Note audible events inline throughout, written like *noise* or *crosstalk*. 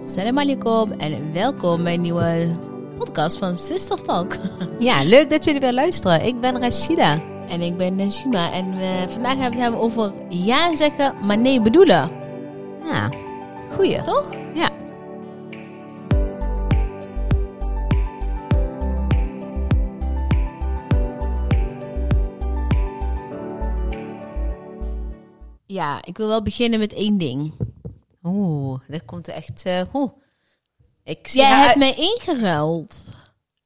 Salam alaikum en welkom bij een nieuwe podcast van Sister Talk. *laughs* Ja, leuk dat jullie weer luisteren. Ik ben Rashida. En ik ben Najima en we, vandaag gaan we het hebben over ja zeggen, maar nee bedoelen. Ja, goeie. Toch? Ja. Ja, ik wil wel beginnen met één ding. Oeh, dat komt er echt... eh, oeh. Ik zie Jij haar hebt uit- mij ingeruild.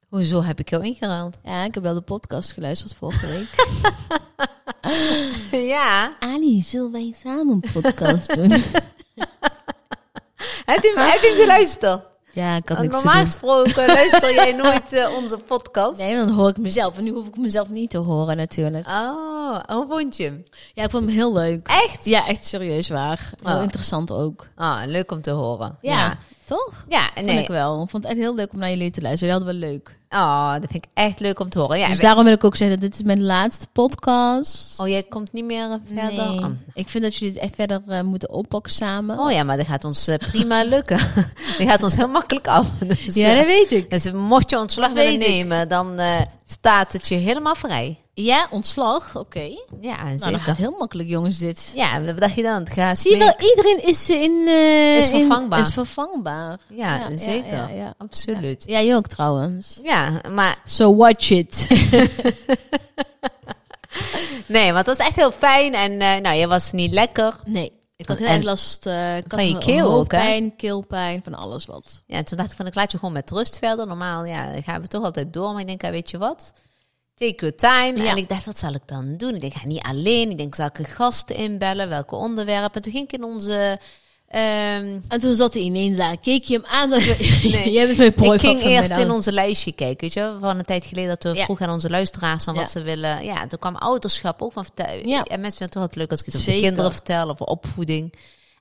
Hoezo heb ik jou ingeruild? Ja, ik heb wel de podcast geluisterd vorige week. *laughs* ja. Ali, zullen wij samen een podcast doen? Heb je, heb je hem *laughs* *laughs* geluisterd? Ja, ik had Want niks te normaal doen. *laughs* gesproken luister jij nooit eh, onze podcast. Nee, dan hoor ik mezelf. En nu hoef ik mezelf niet te horen natuurlijk. Oh, hoe vond je hem? Ja, ik vond hem heel leuk. Echt? Ja, echt serieus waar. Heel Oh. interessant ook. Ah, leuk om te horen. Ja, ja. toch? Ja, Vond nee. ik wel. Ik vond het echt heel leuk om naar jullie te luisteren. Jullie hadden wel leuk. Oh, dat vind ik echt leuk om te horen. Ja, dus we- daarom wil ik ook zeggen, dit is mijn laatste podcast. Oh, jij komt niet meer eh, verder? Nee. Oh. Ik vind dat jullie het echt verder eh, moeten oppakken samen. Oh ja, maar dat gaat ons eh, prima *laughs* lukken. dat gaat ons heel makkelijk af. Dus, ja, eh, dat weet ik. dus mocht je ontslag Dat willen weet ik. nemen, dan eh, staat het je helemaal vrij. Ja, ontslag. Oké. Ja, Nou, dat zeker. gaat heel makkelijk, jongens, dit. Ja, wat dacht je dan? Het gaat Zie je mee- wel, iedereen is in... eh, Is in- vervangbaar. is vervangbaar. Ja, zeker. Ja, ja. Absoluut. Ja, jij ook trouwens. Ja, maar So watch it. nee, want het was echt heel fijn. En eh, nou, je was niet lekker. *laughs* Nee, ik had heel Oh, En- erg last eh, ik Van had je keel ook, hè? hoofdpijn, keelpijn, van alles wat. Ja, toen dacht ik van, ik laat je gewoon met rust verder. Normaal ja, gaan we toch altijd door. Maar ik denk, ja, weet je wat? Take your time. Ja. En ik dacht, wat zal ik dan doen? Ik denk, ik ga niet alleen. Ik denk, zal ik een gast inbellen? Welke onderwerpen? En toen ging ik in onze... ehm, En toen zat hij ineens daar. Keek je hem aan? Dat *laughs* je, *laughs* jij bent mijn prooi ik ging van eerst vanmiddag. in onze lijstje kijken, weet je wel, Van een tijd geleden dat we Ja. vroegen aan onze luisteraars van wat Ja. ze willen. Ja, toen kwam ouderschap ook van vertellen. Ja. En mensen vinden het toch altijd leuk als ik het over Zeker. de kinderen vertel, over opvoeding.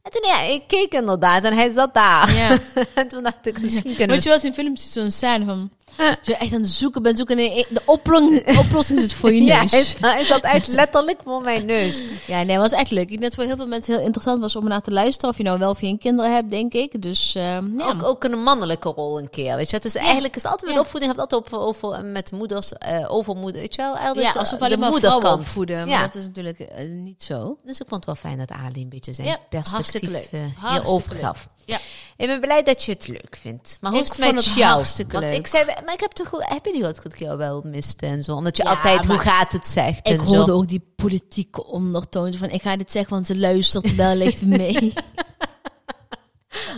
En toen, ja, ik keek inderdaad en hij zat daar. Ja. *laughs* en toen dacht ik, misschien kunnen Eh. Weet we... je wel eens in films ziet zo'n scène van... Als je echt aan het zoeken bent, zoeken en de *laughs* oplossing, oplossing zit voor je Ja, neus. hij, hij zat *laughs* echt letterlijk voor mijn neus. Ja, nee, was echt leuk. Ik denk dat het voor heel veel mensen heel interessant was om naar te luisteren. Of je nou wel of geen kinderen hebt, denk ik. Dus ehm, ja. Ook, ook een mannelijke rol een keer, weet je. Het is eigenlijk, is altijd met Ja. opvoeding, gaat altijd over, over met moeders, eh over moeder, weet je wel. Altijd ja, de- alsof de alleen maar moederkant. vrouwen opvoeden. Maar Ja. dat is natuurlijk eh, niet zo. Dus ik vond het wel fijn dat Ali een beetje zijn Ja, hartstikke perspectief leuk. eh, Hartstikke hierover leuk. gaf. Ja. Ik ben blij dat je het leuk vindt. Maar hoe Ik is het vond met het jou? hartstikke Want leuk. ik zei, maar ik heb toch goed- heb je niet wat ik het jou wel miste en zo? Omdat je Ja, altijd hoe maar gaat het zegt Ik en zo. hoorde ook die politieke ondertoon van ik ga dit zeggen, want ze *laughs* luistert wellicht mee.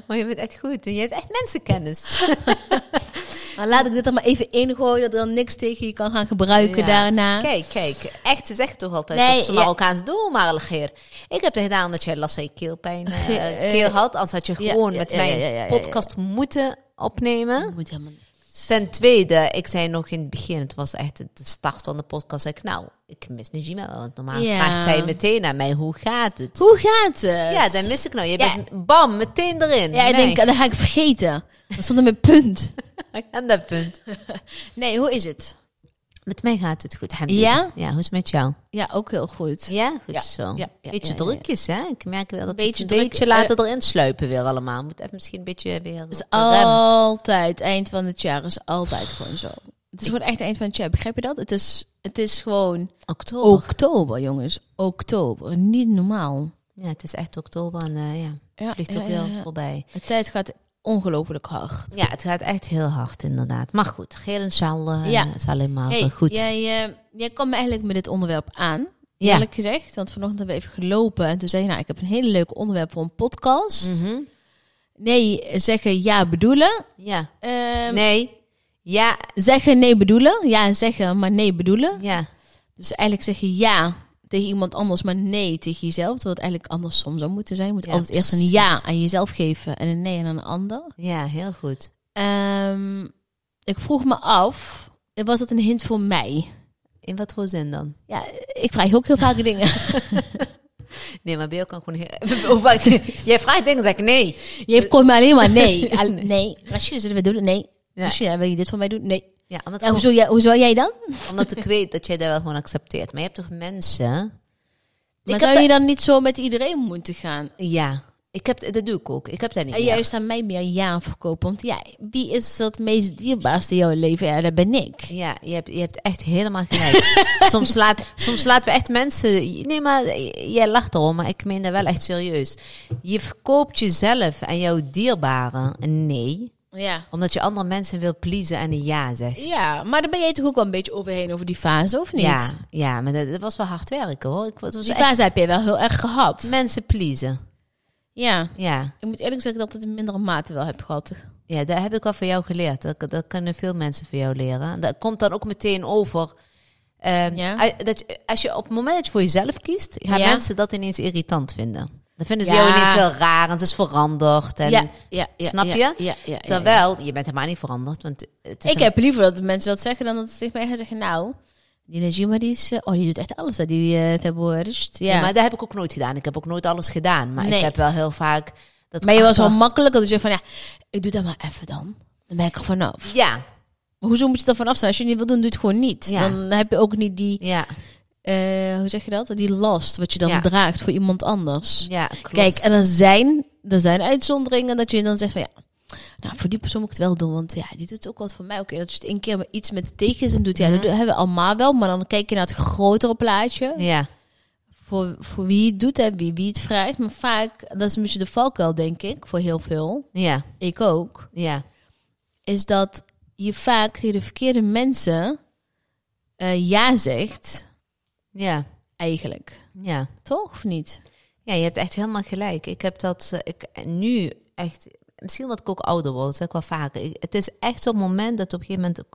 Maar je bent echt goed en je hebt echt *laughs* mensenkennis. maar laat ik dit dan maar even ingooien, dat er dan niks tegen je kan gaan gebruiken Ja. daarna. Kijk, kijk. Echt, ze zeggen toch altijd Nee, dat ze ja. Marokkaans doen, maar Algeer. Ik heb het gedaan omdat jij last van je *laughs* keelpijn eh, Ge- eh, keel had. Anders had je ja, gewoon ja, met ja, mijn ja, ja, ja, ja. podcast moeten opnemen. Moet helemaal niet. Ten tweede, ik zei nog in het begin, het was echt de start van de podcast. Zei ik, nou, ik mis Najima wel. Want normaal Ja. vraagt zij meteen aan mij, hoe gaat het? Hoe gaat het? Ja, dan mis ik nou. Je Ja. bent bam, meteen erin. Ja, ik denk, eh, dat ga ik vergeten. Dat stond er mijn punt. Aan dat punt. Nee, hoe is het? Met mij gaat het goed, alhamdulillah. Ja? Ja, hoe is het met jou? Ja, ook heel goed. Ja, goed Ja. zo. Ja, ja, beetje ja, ja, drukjes, hè? Ik merk wel dat Beetje beetje, druk, beetje laten erin sluipen weer allemaal. Moet even misschien een beetje weer op Het de is rem. altijd, eind van het jaar is altijd gewoon zo. Het is gewoon echt eind van het jaar, begrijp je dat? Het is, het is gewoon Oktober. oktober, jongens. Oktober, niet normaal. Ja, het is echt oktober en eh, ja, Ja, vliegt ja, ook ja, weer ja. voorbij. De tijd gaat ongelooflijk hard. Ja, het gaat echt heel hard inderdaad. Maar goed, geel en sjaal eh, Ja. is alleen maar Hey, eh, goed. Jij, eh, jij kwam eigenlijk met dit onderwerp aan. Ja. Eerlijk gezegd, want vanochtend hebben we even gelopen. En toen zei je, nou, ik heb een hele leuk onderwerp voor een podcast. Mhm. Nee, zeggen ja bedoelen. ja. Ehm, Nee. Ja. Zeggen nee bedoelen. Ja zeggen, maar nee bedoelen. Ja. Dus eigenlijk zeg je ja tegen iemand anders, maar nee tegen jezelf. Terwijl het eigenlijk andersom zou moeten zijn. Je moet Ja, altijd eerst een precies. ja aan jezelf geven en een nee aan een ander. Ja, heel goed. Ehm, ik vroeg me af, was dat een hint voor mij? In wat voor zin dan? Ja, ik vraag ook heel vaak *laughs* dingen. Nee, maar bij jou kan ik gewoon... heel- *laughs* Hoe vaak- Jij vraagt dingen, zeg ik nee. Je hebt komt me alleen maar *laughs* nee. Al- nee. Rashida, zullen we dit doen? Nee. Ja. Rashida, wil je dit voor mij doen? Nee. Ja, omdat, Ja, hoezo, jij, hoezo jij dan? omdat ik weet dat jij dat wel gewoon accepteert. Maar je hebt toch mensen... Maar had zou dat- je dan niet zo met iedereen moeten gaan? Ja. Ik heb, dat doe ik ook. Ik heb dat niet. En meer. juist aan mij meer ja verkopen. Want ja, wie is dat meest dierbaarste in jouw leven? Ja, dat ben ik. Ja, je hebt, je hebt echt helemaal *laughs* gelijk. soms, laat, soms laten we echt mensen. Nee, maar jij lacht erom, maar ik meen dat wel echt serieus. Je verkoopt jezelf en jouw dierbaren een nee, Ja. omdat je andere mensen wil pleasen en een ja zegt. Ja, maar daar ben jij toch ook wel een beetje overheen over die fase, of niet? Dus ja, ja, maar dat, dat was wel hard werken hoor. Ik was was Die echt fase heb jij wel heel erg gehad. mensen pleasen. Ja. Ja. Ik moet eerlijk zeggen dat ik het in mindere mate wel heb gehad. ja, dat heb ik wel van jou geleerd. Dat, dat kunnen veel mensen van jou leren. En Dat komt dan ook meteen over. Ehm, Ja. als- dat, je- als je op het moment dat je voor jezelf kiest, gaan Ja. mensen dat ineens irritant vinden. Dan vinden ze Ja. jou ineens heel raar en ze is veranderd. En, ja, ja, ja, snap ja, je? Ja, ja, ja, ja. Terwijl, je bent helemaal niet veranderd. Want het is Ik een- heb liever dat mensen dat zeggen dan dat ze tegen mij gaan zeggen, nou, die Najima die is, eh, oh die doet echt alles, hè, die eh tegenwoordig. Ja. Ja, maar, maar dat heb ik ook nooit gedaan. Ik heb ook nooit alles gedaan. Maar Nee. ik heb wel heel vaak... Dat je was achter- wel makkelijk, dat je zegt van, ja, ik doe dat maar even dan. Dan ben ik er vanaf. Ja, Maar hoezo moet je er vanaf zijn? Als je het niet wil doen, doe het gewoon niet. Ja. Dan heb je ook niet die, ja, eh, hoe zeg je dat? Die last wat je dan Ja. draagt voor iemand anders. ja, klopt. Kijk, en er zijn, er zijn uitzonderingen dat je dan zegt van ja, nou voor die persoon moet ik het wel doen, want ja, die doet ook wat voor mij. Oké, dat je het één keer met iets met tekens en doet, ja, dat Mhm. hebben we allemaal wel, maar dan kijk je naar het grotere plaatje. Ja, Voor, voor wie het doet en wie, wie het vraagt. Maar vaak, dat is een beetje de valkuil, denk ik, voor heel veel, ja, ik ook, ja. is dat je vaak tegen de verkeerde mensen eh, ja zegt, Ja, eigenlijk. ja. Toch of niet? Ja, je hebt echt helemaal gelijk. Ik heb dat eh, ik, en nu echt... Misschien omdat ik ook ouder word, zeg ik wel vaker. Ik- het is echt zo'n moment dat op een gegeven moment...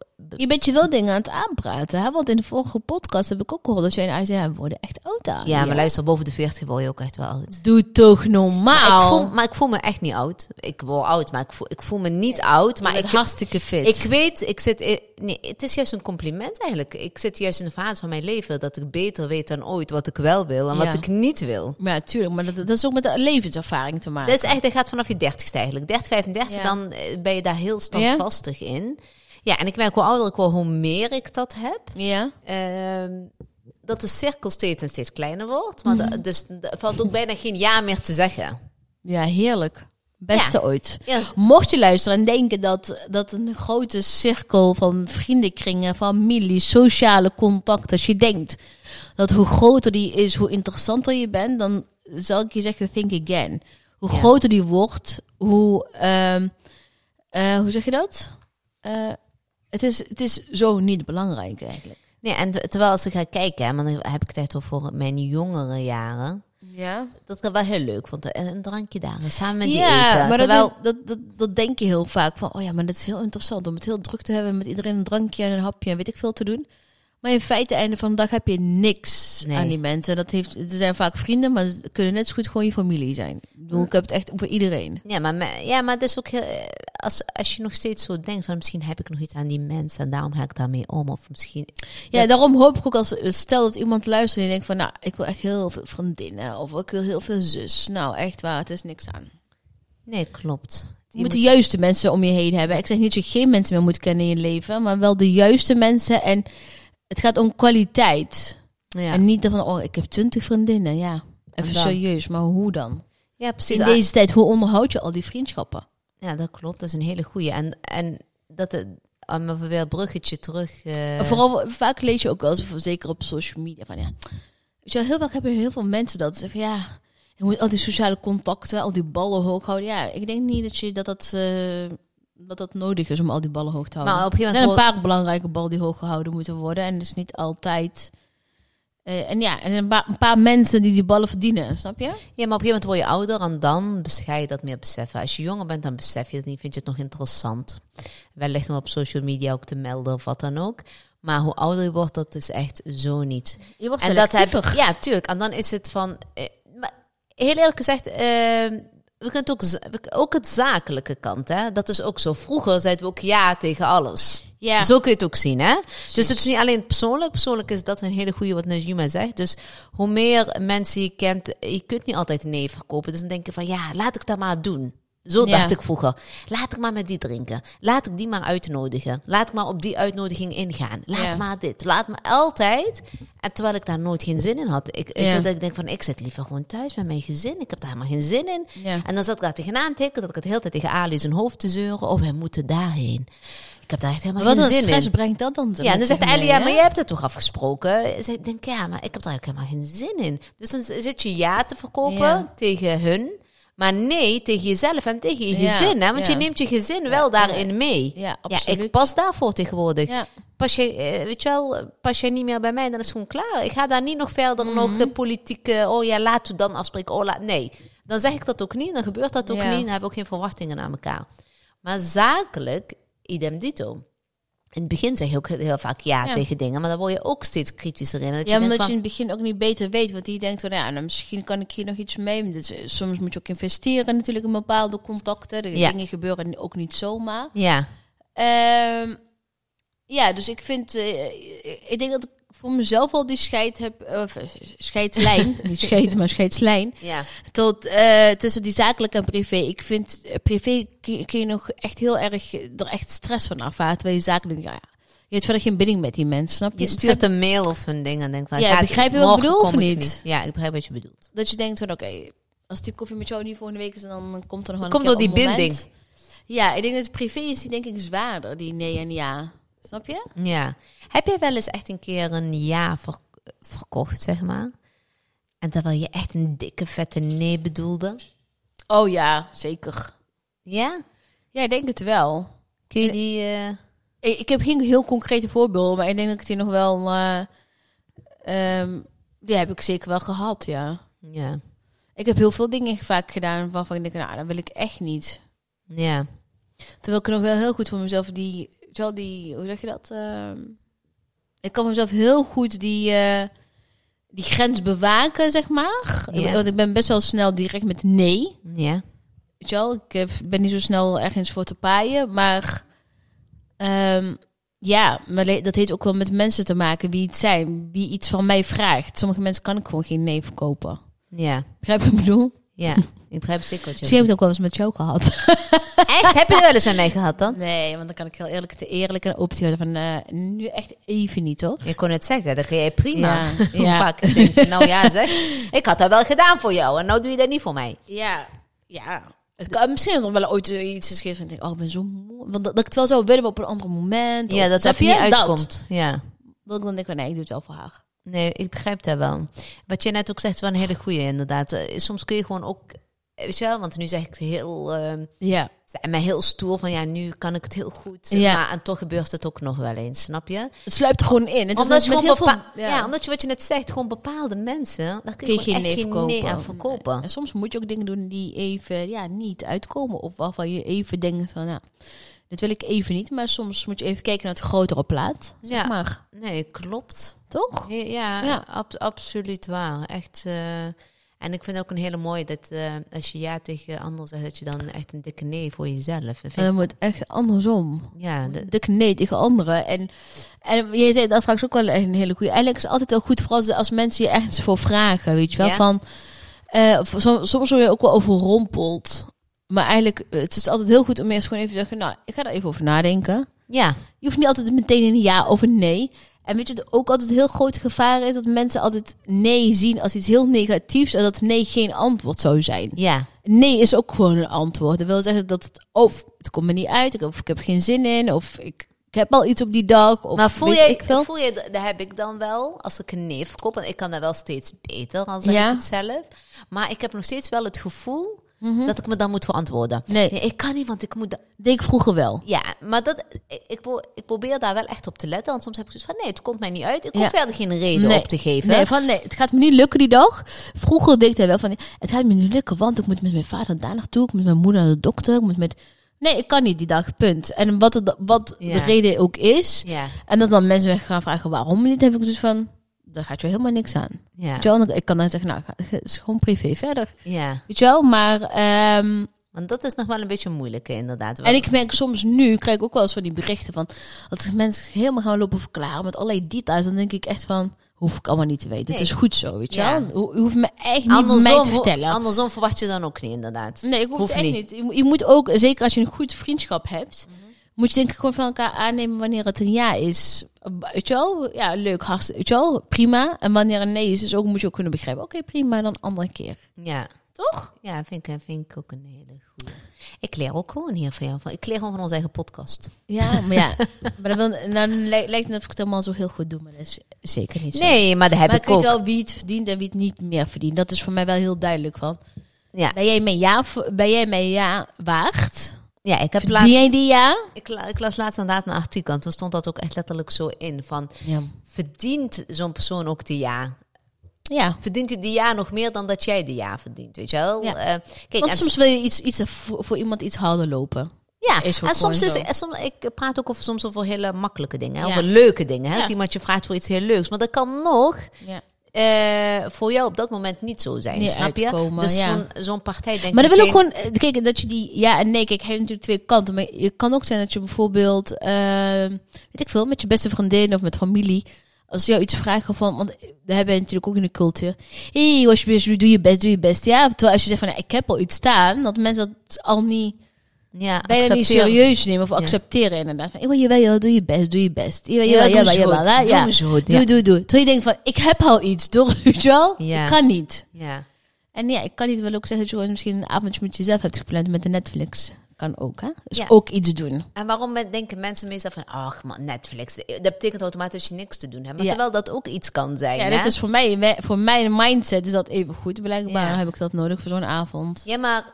Je bent je wel dingen aan het aanpraten, hè? Want in de vorige podcast heb ik ook gehoord dat jij en Arie zei, ja, we worden echt oud aan. Ja, maar luister, boven de 40 word je ook echt wel oud. Doe toch Maar ik, normaal. voel, maar ik voel me echt niet oud. Ik word oud, maar ik voel, ik voel me niet oud. Maar maar ik ik, hartstikke fit. ik weet, ik zit. in- Nee, het is juist een compliment eigenlijk. Ik zit juist in een fase van mijn leven dat ik beter weet dan ooit wat ik wel wil en Ja. wat ik niet wil. maar ja, tuurlijk, maar dat, dat is ook met de levenservaring te maken. Dat is echt, dat gaat vanaf je dertigste eigenlijk. 30, 35, Ja. dan eh, ben je daar heel standvastig in. Ja, en ik merk hoe ouder ik word, hoe meer ik dat heb. ja. Ehm, dat de cirkel steeds en steeds kleiner wordt. Maar Mhm. da- dus er valt ook bijna geen ja meer te zeggen. ja, heerlijk. Beste Ja. ooit. Ja, Mocht je luisteren en denken dat, dat een grote cirkel van vriendenkringen, familie, sociale contact, als je denkt dat hoe groter die is, hoe interessanter je bent, dan zal ik je zeggen, think again. Hoe Ja. groter die wordt, hoe, ehm, eh, hoe zeg je dat? Eh, het, is, het is zo niet belangrijk eigenlijk. Nee, en te- terwijl als ik ga kijken, hè, maar dan heb ik het echt over voor mijn jongere jaren. Ja, Dat ik dat wel heel leuk vond. eh, Een, een drankje daar, en samen met die ja eten. maar terwijl, dat, dat, dat, dat denk je heel vaak van, oh ja, maar dat is heel interessant om het heel druk te hebben met iedereen een drankje en een hapje en weet ik veel te doen. Maar in feite, einde van de dag heb je niks Nee. aan die mensen. Dat heeft, het zijn vaak vrienden, maar ze kunnen net zo goed gewoon je familie zijn. Ik bedoel, ik heb het echt voor iedereen. ja, maar, me- ja, maar het is ook heel... eh, Als, als je nog steeds zo denkt van misschien heb ik nog iets aan die mensen en daarom ga ik daarmee om. Of misschien... Ja, Dat- daarom hoop ik ook als, stel dat iemand luistert en die denkt van, nou, ik wil echt heel veel vriendinnen of ik wil heel veel zus. Nou, echt waar, het is niks aan. Nee, klopt. Je, moet de juiste mensen om je heen hebben. Ik zeg niet dat je geen mensen meer moet kennen in je leven, maar wel de juiste mensen. En het gaat om kwaliteit. ja. En niet van, oh, ik heb twintig vriendinnen. Ja, even dan? serieus, maar hoe dan? ja, precies. Ah, in deze tijd, hoe onderhoud je al die vriendschappen? Ja, dat klopt. Dat is een hele goeie. En, en dat... Het, om even weer een bruggetje terug... eh, En Vooral, vaak lees je ook wel eens, voor- zeker op social media, van ja. Weet je wel, heel vaak hebben heel veel mensen dat. Ze Zeggen, van, ja, je moet al die sociale contacten, al die ballen hoog houden. Ja, ik denk niet dat je dat, dat, eh, dat, dat nodig is om al die ballen hoog te houden. Maar op een Er gegeven zijn een moment... paar belangrijke ballen die hoog gehouden moeten worden. En dus niet altijd. eh, en ja, en een, paar- een paar mensen die die ballen verdienen, snap je? Ja, maar op een gegeven moment word je ouder en dan ga je dat meer beseffen. Als je jonger bent, dan besef je dat niet, vind je het nog interessant. Wellicht om op social media ook te melden of wat dan ook. Maar hoe ouder je wordt, dat is echt zo niet. Je wordt En dat heb selectiever. Ja, tuurlijk. En dan is het van... eh, maar heel eerlijk gezegd, eh, we kunnen het ook, z- we- ook het zakelijke kant, hè. Dat is ook zo. Vroeger zeiden we ook ja tegen alles. Ja. Zo kun je het ook zien, hè? Dus het is niet alleen persoonlijk. Persoonlijk is dat een hele goede wat Najima zegt. Dus hoe meer mensen je kent, je kunt niet altijd nee verkopen. Dus dan denk je van, ja, laat ik dat maar doen. Zo Ja. dacht ik vroeger. Laat ik maar met die drinken. Laat ik die maar uitnodigen. Laat ik maar op die uitnodiging ingaan. Laat Ja. maar dit. Laat me altijd. En terwijl ik daar nooit geen zin in had. Ik, weet je, Ja. dat ik denk van, ik zit liever gewoon thuis met mijn gezin. Ik heb daar helemaal geen zin in. Ja. En dan zat ik daar tegenaan te tikken. Dat ik het de hele tijd tegen Ali zijn hoofd te zeuren. Oh, wij moeten daarheen. Ik heb daar echt helemaal Maar wat geen een zin in. stress brengt dat dan? Ja, en dan zegt tegen Ellie, mij, ja, hè? maar je hebt het toch afgesproken? Ze denkt, ja, maar ik heb daar eigenlijk helemaal geen zin in. Dus dan z- zit je ja te verkopen Ja. tegen hun, maar nee tegen jezelf en tegen je Ja, gezin. Hè? Want ja. je neemt je gezin wel daarin mee. Ja, Ja, absoluut. ik pas daarvoor tegenwoordig. Ja. Pas je, eh, weet je wel, eh, pas je niet meer bij mij, dan is het gewoon klaar. Ik ga daar niet nog verder Mhm. nog eh, politieke, oh ja, laten we dan afspreken. Oh, laat, nee, dan zeg ik dat ook niet, dan gebeurt dat ook Ja. niet, dan hebben we ook geen verwachtingen aan elkaar. Maar zakelijk, idem dito. In het begin zeg je ook heel vaak ja, Ja. tegen dingen, maar dan word je ook steeds kritischer in. Dat Ja, omdat je denkt je in van, het begin ook niet beter weet. Want die denkt van, ja, nou, misschien kan ik hier nog iets mee. Dus, eh, soms moet je ook investeren natuurlijk in bepaalde contacten. De Ja. Dingen gebeuren ook niet zomaar. ja, Ehm, ja, dus ik vind... eh, ik denk dat ik voor mezelf al die scheid heb... Of, eh, scheidslijn. *laughs* niet scheid, maar scheidslijn. ja, Tot, eh, tussen die zakelijke en privé. Ik vind eh, privé kun, kun je nog echt heel erg... eh, Er echt stress van ervaren. Terwijl je zakelijk... Ja, je hebt verder geen binding met die mensen, snap je? je stuurt een mail of een ding en denkt van, Ja, gaat- begrijp je wat ik morgen bedoel of kom ik niet? Ja, ik begrijp wat je bedoelt. Dat je denkt van oké, als die koffie met jou niet volgende week is, dan komt er nog wel Komt een keer een door die moment. binding. Ja, ik denk dat privé is die denk ik zwaarder, die nee en ja. Snap je? Ja. Heb jij wel eens echt een keer een ja ver- verkocht, zeg maar? En terwijl je echt een dikke, vette nee bedoelde? Oh ja, zeker. Ja? Ja, ik denk het wel. Kun je die... eh, Ik, ik heb geen heel concrete voorbeelden, maar ik denk dat ik die nog wel... eh, ehm, die heb ik zeker wel gehad, ja. ja. Ik heb heel veel dingen vaak gedaan waarvan ik denk, nou, dat wil ik echt niet. Ja. Terwijl ik nog wel heel goed voor mezelf die... Zo die hoe zeg je dat? Ehm, ik kan voor mezelf heel goed die, eh, die grens bewaken, zeg maar. Ja. Ik- Want ik ben best wel snel direct met nee. Ja. Weet je wel? Ik eh, ben niet zo snel ergens voor te paaien. Maar ehm, ja, maar le- dat heeft ook wel met mensen te maken wie het zijn. Wie iets van mij vraagt. Sommige mensen kan ik gewoon geen nee verkopen. Ja. Begrijp je wat ik bedoel? Ja. Ik begrijp zeker wat je Misschien heb ik het ook wel eens met jou gehad. *laughs* bedoelt. Echt? Heb je er wel eens aan mij gehad dan? Nee, want dan kan ik heel eerlijk te eerlijk en open te houden van eh, nu echt even niet, toch? Je kon het zeggen, dat kun jij prima. *laughs* Ja, ja. Pak. Ik denk, nou ja zeg, ik had dat wel gedaan voor jou en nou doe je dat niet voor mij. Ja, ja. Het kan, misschien dat er wel ooit iets is geweest van ik denk, oh, ik ben zo moe. Want dat, dat ik het wel zou willen, maar op een ander moment. Ja, Of- dat snap dat niet je? Dat. uitkomt. Ja. Wil ik dan denken, nee, ik doe het wel voor haar. Nee, ik begrijp dat wel. Wat je net ook zegt, is wel een hele goeie inderdaad. Eh, Soms kun je gewoon ook, eh, weet je wel, want nu zeg ik het heel, ehm Ja. en mij heel stoer van ja, nu kan ik het heel goed. Ja. Maar en toch gebeurt het ook nog wel eens, snap je? Het sluipt er gewoon in. Het is Omdat je, met gewoon heel veel, bepa- ja. omdat je wat je net zegt, gewoon bepaalde mensen, daar kun Kun je, je gewoon geen echt nee geen nee verkopen. aan verkopen. En soms moet je ook dingen doen die even ja, niet uitkomen. Of waarvan je even denkt van, nou, dit wil ik even niet. Maar soms moet je even kijken naar het grotere plaat. Zeg Ja. maar. Nee, klopt. Toch? Ja, Ja. ab- absoluut waar. Echt. eh, en ik vind ook een hele mooie dat eh, als je ja tegen anderen zegt, dat je dan echt een dikke nee voor jezelf. Dat vind En ik- dan moet het echt andersom. ja, dat- de nee tegen anderen. En, en jij zei dat straks ook wel echt een hele goede. Eigenlijk is het altijd wel goed, vooral als, als mensen je ergens voor vragen, weet je wel. Ja. Van, eh, voor- som- soms word je ook wel overrompeld. Maar eigenlijk, eh, het is altijd heel goed om eerst gewoon even te zeggen, nou, ik ga daar even over nadenken. ja. Je hoeft niet altijd meteen een ja of een nee. En weet je, wat ook altijd een heel groot gevaar is dat mensen altijd nee zien als iets heel negatiefs en dat nee geen antwoord zou zijn. ja. Nee is ook gewoon een antwoord. Dat wil zeggen dat het of het komt me niet uit, ik- of ik heb geen zin in, of ik, ik heb al iets op die dag. Of maar voel weet je, ik wel? voel je, dat heb ik dan wel, als ik een nee verkoop, en ik kan dat wel steeds beter, dan zeg Ja. ik het zelf. Maar ik heb nog steeds wel het gevoel dat ik me dan moet verantwoorden. Mhm. Nee. ik kan niet, want ik moet... dat- deed ik vroeger wel. Ja, maar dat, ik- ik, pro- ik probeer daar wel echt op te letten, want soms heb ik zoiets van, nee, het komt mij niet uit, ik hoef Ja. verder geen reden Nee. op te geven. Nee, van nee, het gaat me niet lukken die dag. Vroeger deed ik dat wel van, het gaat me niet lukken, want ik moet met mijn vader daar naartoe, ik moet met mijn moeder naar de dokter, ik moet met... Nee, ik kan niet die dag, punt. En wat, het, wat Ja. de reden ook is, Ja, en dat dan mensen me gaan vragen waarom niet, heb ik dus van, daar gaat je helemaal niks aan. ja, Weet je wel? En dan- Ik kan dan zeggen, nou, ga- het is gewoon privé verder. ja. Weet je wel, maar... ehm, Want dat is nog wel een beetje moeilijk, inderdaad. En ik merk soms nu, krijg ik ook wel eens van die berichten van... dat mensen helemaal gaan lopen verklaren met allerlei details. Dan denk ik echt van, hoef ik allemaal niet te weten. Het Nee. is goed zo, weet je Ja. wel. Ho- Je hoeft me echt niet mij te ho- vertellen. andersom verwacht je dan ook niet, inderdaad. Nee, ik hoef Hoeft het echt niet. niet. Mhm. Je moet- Je moet ook, zeker als je een goed vriendschap hebt, moet je denk ik gewoon van elkaar aannemen wanneer het een ja is. Weet je wel? Ja, leuk, hartstikke. Weet je wel? Prima. En wanneer een nee is, dus ook moet je ook kunnen begrijpen. Oké, prima, dan andere keer. Ja. Toch? Ja, vind ik, vind ik ook een hele goede. Ik leer ook gewoon hier van jou. van- Ik leer gewoon van onze eigen podcast. *laughs* Ja, maar ja. maar dan, wil, dan lij- lijkt het net of ik het helemaal zo heel goed doe, maar dat is zeker niet zo. Nee, maar dat heb maar ik, ik ook. weet wel wie het verdient en wie het niet meer verdient. Dat is voor mij wel heel duidelijk. Want Ja. ben jij mijn ja, v- ben jij mijn ja waard? ja, ik heb Verdien laatst... jij die ja? Ik, la- ik las laatst inderdaad een artikel en toen stond dat ook echt letterlijk zo in. Van, Ja. verdient zo'n persoon ook die ja? Ja, Verdient hij die ja nog meer dan dat jij die ja verdient, weet je wel? Ja. Eh, kijk, Want en soms wil je iets, iets voor, voor iemand iets harder lopen. Ja, Is ook en soms gewoon is zo. en soms, ik praat ook over, soms over hele makkelijke dingen, hè, Ja. over leuke dingen. Hè, Ja. Dat iemand je vraagt voor iets heel leuks. Maar dat kan nog Ja. eh, voor jou op dat moment niet zo zijn, Niet snap uitkomen, je? Dus ja. zo'n zo'n partij denkt Maar dat wil ook meteen- gewoon, eh, kijk, dat je die ja en nee, kijk, hij heeft natuurlijk twee kanten. Maar het kan ook zijn dat je bijvoorbeeld, eh, weet ik veel, met je beste vriendin of met familie, als ze jou iets vragen van, want eh, daar hebben we natuurlijk ook in de cultuur. Hé, hey, alsjeblieft, doe je best, doe je best. Ja, terwijl als je zegt van, ja, ik heb al iets staan, dat mensen dat al niet, ja, bijna niet accepteren. serieus nemen of accepteren inderdaad. Van, jawel, jawel, jawel, doe je best, doe je best. Jawel, Ja, jawel, doe jawel, ze jawel, goed, hè, ja. doe ze goed, ja. Doe, doe, doe. Terwijl je denkt van, ik heb al iets, door, *laughs* weet je wel? Ja. Ik kan niet. Ja. En ja, ik kan niet wel ook zeggen dat je gewoon misschien een avondje met jezelf hebt gepland met de Netflix. Kan ook, hè? Dus Ja. ook iets doen. En waarom men- denken mensen meestal van, ach man, Netflix, dat betekent automatisch dat je niks te doen hebt. Maar Ja. terwijl dat ook iets kan zijn. Ja, hè? dat is voor mij, voor mijn mindset is dat even goed. Blijkbaar Ja. heb ik dat nodig voor zo'n avond. Ja, maar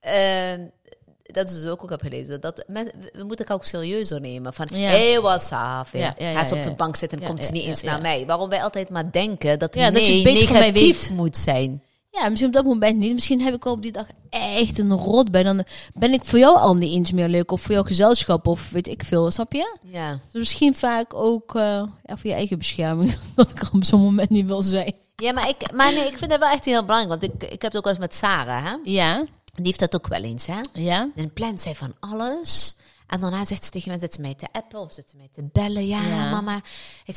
eh, dat is dus ook, ook heb gelezen. Dat men, we moeten elkaar ook serieuzer nemen. Van, Ja. hey, what's up? Ja, Ja, ja, ja, Gaat ze op ja, de ja. bank zitten en Ja, komt ja, ze niet ja, eens ja. naar mij. Waarom wij altijd maar denken dat, Ja, nee, dat je het beter van mij negatief weet. moet zijn. Ja, misschien op dat moment niet. Misschien heb ik wel op die dag echt een rot bij. Dan ben ik voor jou al niet eens meer leuk. Of voor jouw gezelschap. Of weet ik veel, snap je? Ja. Dus misschien vaak ook eh, ja, voor je eigen bescherming. *laughs* Dat ik er op zo'n moment niet wil zijn. Ja, maar, ik, maar nee, ik vind dat wel echt heel belangrijk. Want ik, ik heb het ook wel eens met Sarah, hè? Ja, die heeft dat ook wel eens. Hè? ja. Dan plant zij van alles. En daarna zegt ze tegen mij, zit ze mij te appen of zit ze mij te bellen. Ja, Ja. mama. Ik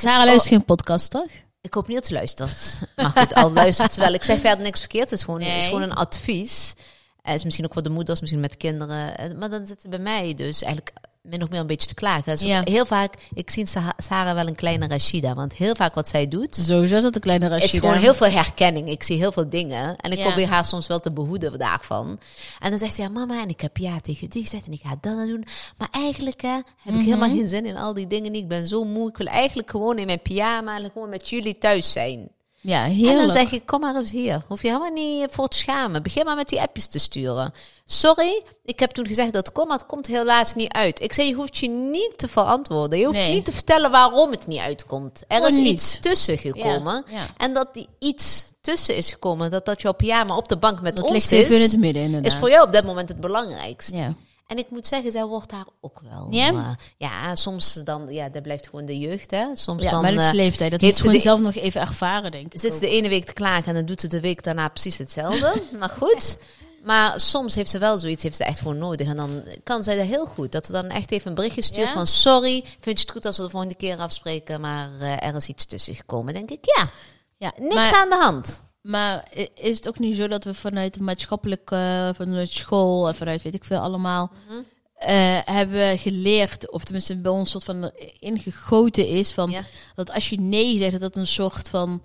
zeg, Sarah oh, luistert geen podcast, toch? Ik hoop niet dat ze luistert. Maar goed, al luistert ze wel. Ik zeg verder niks verkeerd. Het is gewoon, het is Nee. gewoon een advies. Het is misschien ook voor de moeders, misschien met kinderen. Eh, Maar dan zit ze bij mij dus eigenlijk min of meer een beetje te klagen. Dus Ja. Heel vaak, ik zie Sa- Sarah wel een kleine Rashida. Want heel vaak wat zij doet, Sowieso is dat een kleine rasje. is gewoon heel veel herkenning. Ik zie heel veel dingen. En ik Ja. probeer haar soms wel te behoeden daarvan. En dan zegt ze, ja mama, en ik heb ja tegen die gezegd. En ik ga dat dan doen. Maar eigenlijk hè, heb ik helemaal geen zin in al die dingen. Ik ben zo moe. Ik wil eigenlijk gewoon in mijn pyjama en gewoon met jullie thuis zijn. Ja, heerlijk. En dan zeg ik, kom maar eens hier. Hoef je helemaal niet voor te schamen. Begin maar met die appjes te sturen. Sorry, ik heb toen gezegd dat kom, maar het komt helaas niet uit. Ik zei, je hoeft je niet te verantwoorden. Je hoeft Nee. niet te vertellen waarom het niet uitkomt. Er Gewoon is niet. iets tussen gekomen. Ja, ja. En dat die iets tussen is gekomen, dat dat je op pyjama op de bank met dat ons ligt is, even in het midden, inderdaad. is voor jou op dat moment het belangrijkst. ja. En ik moet zeggen, zij wordt daar ook wel. Ja? eh, ja, soms dan, ja, dat blijft gewoon de jeugd, hè. Soms ja, dan, maar dat is eh, leeftijd. Dat heeft moet ze ze gewoon die- zelf nog even ervaren, denk ik. zit ze de ene week te klagen en dan doet ze de week daarna precies hetzelfde. *laughs* maar goed. Maar soms heeft ze wel zoiets, heeft ze echt gewoon nodig. En dan kan zij dat heel goed. Dat ze dan echt even een berichtje stuurt Ja? van... Sorry, vind je het goed als we de volgende keer afspreken? Maar eh, er is iets tussen gekomen. Dan denk ik, ja, Ja, niks maar, aan de hand. maar i- is het ook niet zo dat we vanuit de maatschappelijke, eh, vanuit school en vanuit weet ik veel allemaal, Mhm. eh, hebben geleerd, of tenminste bij ons soort van ingegoten is, van Ja. dat als je nee zegt, dat dat een soort van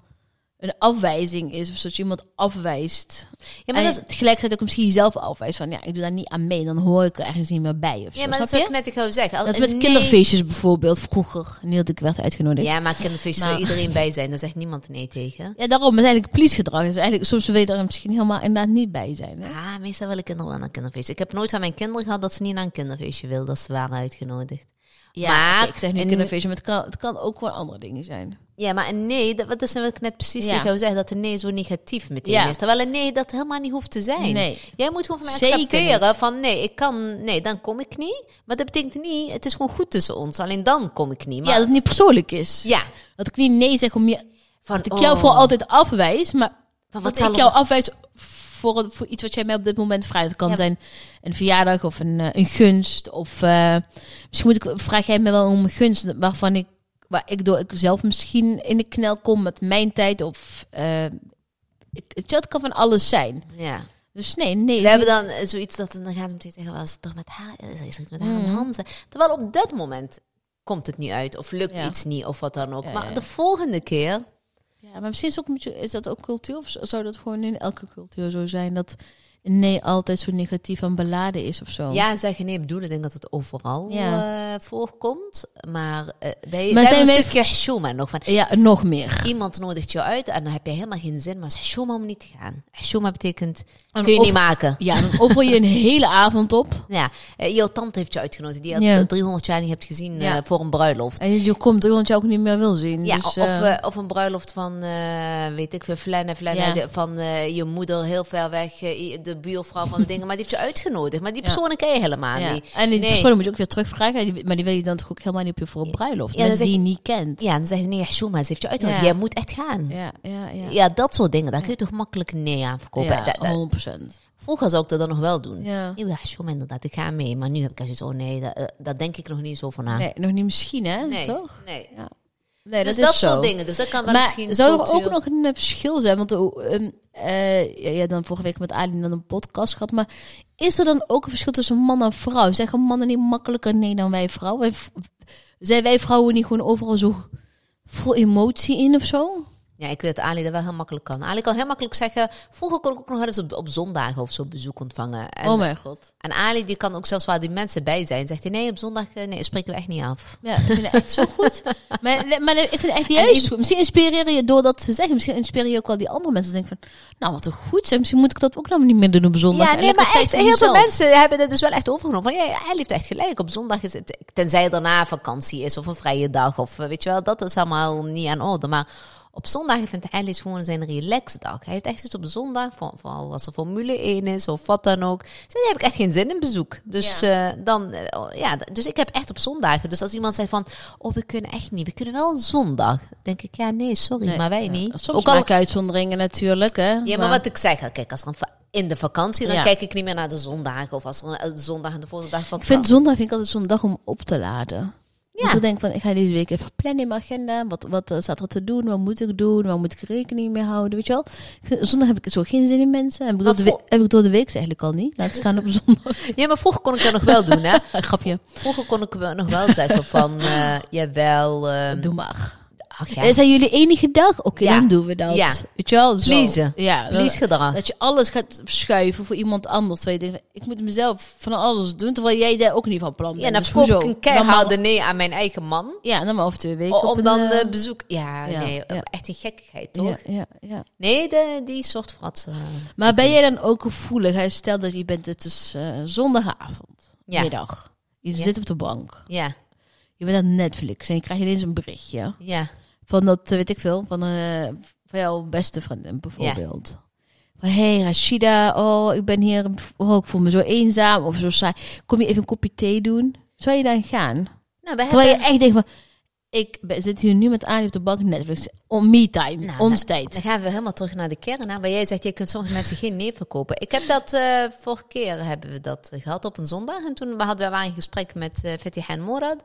een afwijzing is, of dat je iemand afwijst. Ja, maar en dat is, tegelijkertijd ook misschien jezelf afwijst, van ja, ik doe daar niet aan mee, dan hoor ik er ergens niet meer bij. Of zo, ja, maar dat snap is wat je? ik net tegen jou zeg. Al- Dat is met nee- kinderfeestjes bijvoorbeeld, vroeger, niet dat ik werd uitgenodigd. Ja, maar kinderfeestjes Maar- wil iedereen bij zijn. Daar zegt niemand nee tegen. Ja, daarom is eigenlijk please-gedrag. Is eigenlijk, soms wil je er misschien helemaal inderdaad niet bij zijn. Hè? Ah, meestal willen kinderen wel naar een kinderfeestje. Ik heb nooit van mijn kinderen gehad dat ze niet naar een kinderfeestje wilden. Dat ze waren uitgenodigd. Maar- oké, ik zeg nu en- kinderfeestje, maar het kan, het kan ook gewoon andere dingen zijn. Ja, maar een nee, dat, wat is nou wat ik net precies Ja. tegen jou zeg, dat een nee zo negatief meteen Ja. is. Terwijl een nee dat helemaal niet hoeft te zijn. Nee. Jij moet gewoon van mij Zeker accepteren niet. van nee, ik kan, nee, dan kom ik niet. Maar dat betekent niet, het is gewoon goed tussen ons. Alleen dan kom ik niet. Maar, Ja, dat het niet persoonlijk is. ja. Oh. Dat ik niet nee zeg om je, Van, dat ik jou voor altijd afwijs, maar Van, wat dat zal ik er- jou afwijs voor, voor iets wat jij mij op dit moment vraagt. Het kan Ja. zijn een verjaardag of een, eh, een gunst. Of eh, misschien moet ik, vraag jij me wel om een gunst waarvan ik waar ik door ik zelf misschien in de knel kom met mijn tijd of eh, ik, het kan van alles zijn. Ja. Dus nee, nee. We hebben dan eh, zoiets dat dan gaat hem tegen zeggen, was het toch met haar, eh, is er iets met haar aan de Mhm. hand? Terwijl op dat moment komt het niet uit of lukt Ja. iets niet of wat dan ook. Ja, maar ja. de volgende keer, Ja, maar misschien is, ook, een beetje- is dat ook cultuur of zou dat gewoon in elke cultuur zo zijn dat nee altijd zo negatief en beladen is of zo? ja, zeggen nee bedoelen, ik denk dat het overal Ja. eh, voorkomt. Maar eh bij, Maar zijn wij hebben wij- een stukje shoma nog van, Ja, nog meer. iemand nodigt je uit en dan heb je helemaal geen zin, maar shoma om niet te gaan. Shoma betekent, Een kun je of- niet maken. Ja, dan offer je een hele avond op Ja, eh, jouw tante heeft je uitgenodigd, die je Ja. al 300 jaar niet hebt gezien Ja. eh, voor een bruiloft. en je komt er want je ook niet meer wil zien. Ja, dus, of, eh, eh, of een bruiloft van, eh, weet ik veel, flannen, flannen, Ja. de- van eh, je moeder heel ver weg, eh, de buurvrouw *laughs* van de dingen, maar die heeft je uitgenodigd. Maar die Ja. personen ken je helemaal ja. niet. En die Nee. persoon moet je ook weer terugvragen, die- maar die wil je dan toch ook helemaal niet op je voor een bruiloft. Ja, mensen dat die is je niet kent. Ja, en dan zeggen nee, ja, Shoma, ze heeft je uitgenodigd, Ja. jij moet echt gaan. Ja. Ja, ja, ja. dat soort dingen, daar kun je toch makkelijk een nee aan verkopen. Ja, Dat- dat- 100%. vroeger zou ik dat dan nog wel doen. Ja. Ik dacht, Shoma, inderdaad, ik ga mee. Maar nu heb ik zoiets, oh nee, dat, eh, daar denk ik nog niet zo van aan. Nee, nog niet misschien, hè? nee. Toch? nee. Ja. Nee, dus is dat, zo. soort dingen. Dus dat kan wel Maar misschien zou er cultuur- ook nog een eh, verschil zijn? Want eh, ehm, eh, ja, ja, dan vorige week met Ali dan een podcast gehad. Maar is er dan ook een verschil tussen man en vrouw? Zeggen mannen niet makkelijker nee dan wij vrouwen? Wij v- Zijn wij vrouwen niet gewoon overal zo vol emotie in of zo? Ja, ik weet dat Ali dat wel heel makkelijk kan. Ali kan heel makkelijk zeggen... Vroeger kon ik ook nog wel eens op, op zondagen of zo bezoek ontvangen. En, oh mijn god. en Ali die kan ook zelfs waar die mensen bij zijn... zegt hij, nee, op zondag eh, nee, spreken we echt niet af. Ja, ik vind het echt zo *laughs* goed. Maar, maar ik vind het echt En juist ik- goed. Misschien inspireer je door dat te zeggen. Misschien inspireer je ook wel die andere mensen. Denk van, nou wat een goed zijn. Misschien moet ik dat ook nou niet meer doen op zondag. ja, En nee, lekker maar tijd echt, voor heel veel mezelf. mensen hebben dat dus wel echt overgenomen. Van, ja, Ali heeft echt gelijk. Op zondag is het... Tenzij er daarna vakantie is of een vrije dag. Of eh, weet je wel, dat is allemaal niet aan orde. Maar... Op zondag vindt Ali het gewoon zijn relaxed dag. Hij heeft echt iets op zondag, voor- vooral als er Formule 1 is of wat dan ook. Zegt, daar heb ik echt geen zin in bezoek. Dus, eh, dan, eh, oh, ja, d- dus ik heb echt op zondagen. Dus als iemand zei van, oh we kunnen echt niet, we kunnen wel een zondag. denk ik, ja nee, sorry, Nee, maar wij ja. niet. Soms Ook al- maak je uitzonderingen natuurlijk. Hè, ja, maar wat ik zeg, al, kijk, als er een va- in de vakantie, dan Ja. kijk ik niet meer naar de zondagen. Of als er een een zondag en de volgende dag van... Ik vind zondag vind ik altijd zo'n dag om op te laden. Ja. Want ik denk van, ik ga deze week even plannen in mijn agenda. Wat, wat eh, staat er te doen? Wat moet ik doen? Waar moet ik rekening mee houden? Weet je wel? Ik vind- zondag heb ik zo geen zin in mensen. Heb ik, door Maar de, we- voor- heb ik door de week ze eigenlijk al niet. Laat staan op zondag. *laughs* Ja, maar vroeger kon ik dat nog wel doen, hè. Grapje. Vroeger kon ik wel- nog wel zeggen van, eh jawel... ehm, Doe maar. ach ja, Eh, Zijn jullie enige dag? Oké, Ja. dan doen we dat. Ja. Weet je wel? Zo. Pleasen. Ja. dan- verliesgedrag. Dat je alles gaat schuiven voor iemand anders. Terwijl je denkt, ik moet mezelf van alles doen. Terwijl jij daar ook niet van plan bent. Ja, dan Dus verkoop ik hoezo? een Dan maar- keiharde nee aan mijn eigen man. Ja, dan maar over twee weken. op Om een, dan eh, eh, bezoek... Ja, ja, nee, eh, ja. echt een gekkigheid, toch? Ja, ja, ja. Nee, de, die soort fratsen. eh, Maar ben jij dan ook gevoelig? Hij stelt dat je bent, het is eh, zondagavond, Ja, middag. Je Ja. zit op de bank. ja, Je bent aan Netflix en je krijgt ineens een berichtje. ja. Van dat, eh, weet ik veel, van, eh, van jouw beste vriendin bijvoorbeeld. Van, hey Rashida, oh, ik ben hier, oh, ik voel me zo eenzaam of zo saai. Kom je even een kopje thee doen? Zou je dan gaan? Nou, wij Terwijl je hebben... echt denkt van, ik ben- zit hier nu met Arie op de bank Netflix. On me time, Nou, ons nou, tijd. Dan gaan we helemaal terug naar de kern. Hè? Waar jij zegt, je kunt sommige mensen geen nee verkopen. Ik heb dat eh vorige keer hebben we dat gehad op een zondag. En toen we hadden we waren in gesprek met eh Fetih en Morad.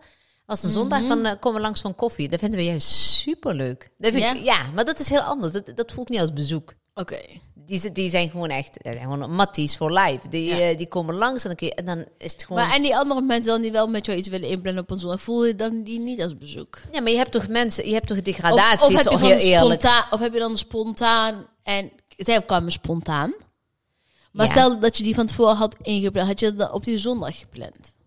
was een Mhm. zondag van eh, komen we langs van koffie. Dat vinden we juist superleuk. Dat vind Ja? Ik, ja, maar dat is heel anders. Dat, dat voelt niet als bezoek. Oké. Die, zi- die zijn gewoon echt dat zijn gewoon matties voor life. Die, Ja. eh, die komen langs en dan, kun je- en dan is het gewoon... Maar en die andere mensen dan die wel met jou iets willen inplannen op een zondag, voel je dan die niet als bezoek? Of- ja, maar je hebt toch mensen, je hebt toch Of, degradaties, heb je toch dan heel eerlijk. spontaan, of heb je dan spontaan en zij kwamen spontaan? Maar Ja. stel dat je die van tevoren had ingepland, had je dat dan op die zondag gepland?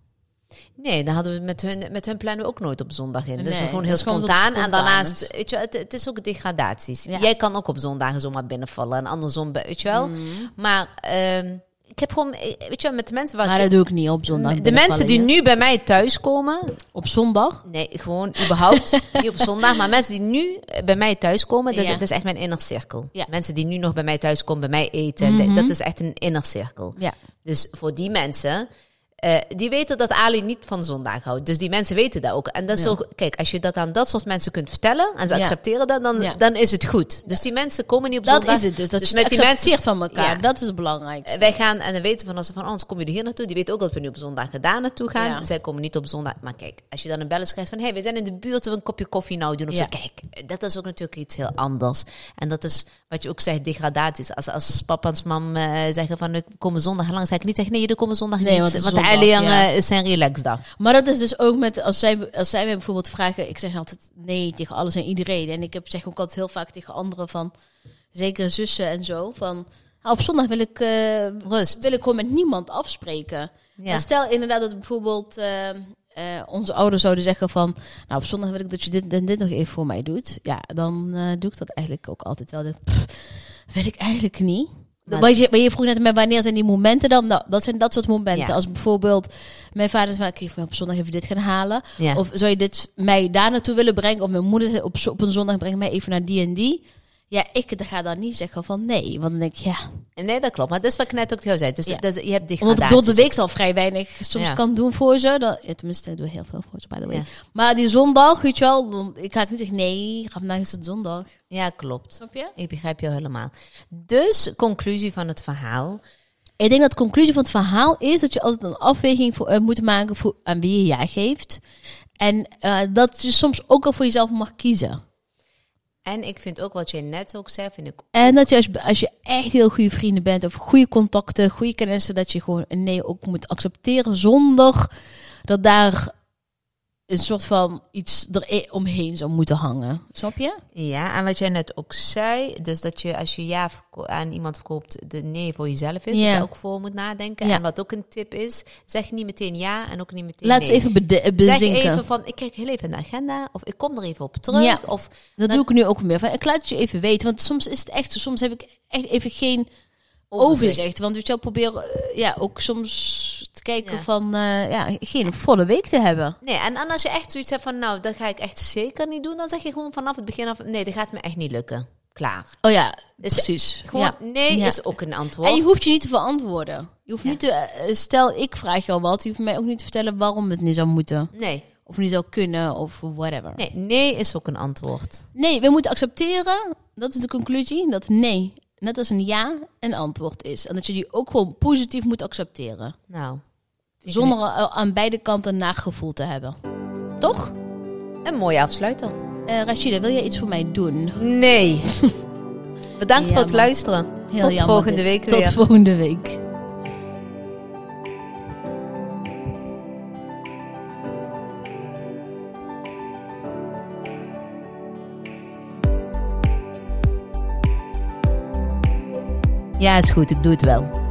Nee, dan hadden we met hun, met hun plannen we ook nooit op zondag in. dus Nee, gewoon dat heel is gewoon wat spontaan. En spontaan dus. daarnaast, weet je, wel, het, het is ook degradaties. Ja. Jij kan ook op zondagen zomaar binnenvallen en andersom, bij- weet je wel. Mhm. Maar ehm, ik heb gewoon, eh, weet je, wel, met de mensen waar Maar ik, dat doe ik niet op zondag. de mensen die binnenvallen, nu bij mij thuiskomen, hè? op zondag. nee, gewoon *laughs* überhaupt niet op zondag, maar mensen die nu eh, bij mij thuiskomen, dat, is Ja. dat is echt mijn inner cirkel. Ja. Mhm. Mensen die nu nog bij mij thuiskomen, bij mij eten, dat- dat is echt een inner cirkel. Ja. Dus voor die mensen eh, eh, die weten dat Ali niet van zondag houdt. Dus die mensen weten dat ook. En dat is Ja. toch, kijk, als je dat aan dat soort mensen kunt vertellen en ze Ja. accepteren dat, dan, Ja. dan is het goed. Dus die mensen komen niet op Dat zondag. is het dus. Dat Dus je met met die die mensen- van elkaar. Ja. Dat is het belangrijkste. Eh, Wij gaan en dan weten van als ze van ons komen jullie hier naartoe. Die weten ook dat we nu op zondag daar naartoe gaan. Ja. Zij komen niet op zondag. Maar kijk, als je dan een belletje krijgt van hé, hey, we zijn in de buurt, we een kopje koffie nou doen. Of Ja. zo. Kijk, eh, dat is ook natuurlijk iets heel anders. En dat is wat je ook zegt, degradaties. Als, als papa's mam eh, zeggen van we komen zondag langs, ga ik niet zeggen nee, jullie komen zondag Nee, niet. want het is want zondag, alleen ja. eh, is zijn relaxdag. Maar dat is dus ook met, als zij, als zij mij bijvoorbeeld vragen, ik zeg altijd nee tegen alles en iedereen. En ik heb zeg ook altijd heel vaak tegen anderen van, zeker zussen en zo, van "Ah, op zondag wil ik, eh, Rust. Dus- wil ik gewoon met niemand afspreken. Ja. En stel inderdaad dat bijvoorbeeld eh, eh, onze ouders zouden zeggen van, nou op zondag wil ik dat je dit en dit nog even voor mij doet. Ja, dan eh, doe ik dat eigenlijk ook altijd wel. Dan, pff, wil ik eigenlijk niet. Maar- Maar je, maar je vroeg net met wanneer zijn die momenten dan? Nou, dat zijn dat soort momenten. Ja. Als bijvoorbeeld mijn vader zei, ik op zondag even dit gaan halen. Ja. Of zou je dit mij daar naartoe willen brengen? Of mijn moeder zei op, zo- op een zondag, breng mij even naar die en die. Ja, ik d- ga dan niet zeggen van nee. Want dan denk ik, ja. Nee, dat klopt. Maar dat is wat ik net ook tegen jou zei. Dus Ja. dat, dat- je hebt Omdat ik degradaties. door de week al vrij weinig soms Ja. kan doen voor ze. Dan, ja, tenminste, ik doe heel veel voor ze, by the way. Ja. Maar die zondag, weet je wel. Dan, ik ga niet zeggen, nee, vandaag is het zondag. Ja, klopt. Snap je? Ik begrijp jou helemaal. Dus, conclusie van het verhaal. Ik denk dat de conclusie van het verhaal is dat je altijd een afweging voor, eh, moet maken voor, aan wie je ja geeft. En eh, dat je soms ook al voor jezelf mag kiezen. En ik vind ook wat jij net ook zei, vind ik En dat je als, als je echt heel goede vrienden bent of goede contacten, goede kennissen, dat je gewoon een nee ook moet accepteren zonder dat daar een soort van iets er e- omheen zou moeten hangen. Snap je? Ja, en wat jij net ook zei, dus dat je als je ja verko- aan iemand verkoopt, de nee voor jezelf is, Ja. dat je ook voor moet nadenken. Ja. En wat ook een tip is, zeg niet meteen ja en ook niet meteen Laat nee. het even bede- eh, Zeg bezinken. even van, ik kijk heel even naar de agenda, of ik kom er even op terug, Ja. of Dat Dan- doe ik nu ook meer. Van, ik laat het je even weten. Want soms is het echt zo. Soms heb ik echt even geen Overzicht. overzicht. Want weet je wel, probeer eh, ja, ook soms te kijken Ja. van... eh, ja, geen volle week te hebben. Nee, en, en als je echt zoiets hebt van, nou, dat ga ik echt zeker niet doen, dan zeg je gewoon vanaf het begin af, nee, dat gaat me echt niet lukken. Klaar. Oh ja, Dus precies. Gewoon, ja. nee Ja. is ook een antwoord. En je hoeft je niet te verantwoorden. Je hoeft Ja. niet te... eh, stel, ik vraag jou wat. Je hoeft mij ook niet te vertellen waarom het niet zou moeten. Nee, Of niet zou kunnen, of whatever. nee, nee is ook een antwoord. Nee, we moeten accepteren, dat is de conclusie, dat nee, net als een ja, een antwoord is. En dat je die ook gewoon positief moet accepteren. Nou, Zonder eh, aan beide kanten nagevoel te hebben. Toch? een mooie afsluiter. Eh Rashida, wil jij iets voor mij doen? Nee. *laughs* Bedankt voor het Jammer. luisteren. Heel Tot jammer volgende dit. week Tot weer. volgende week. Ja, is goed. Ik doe het wel.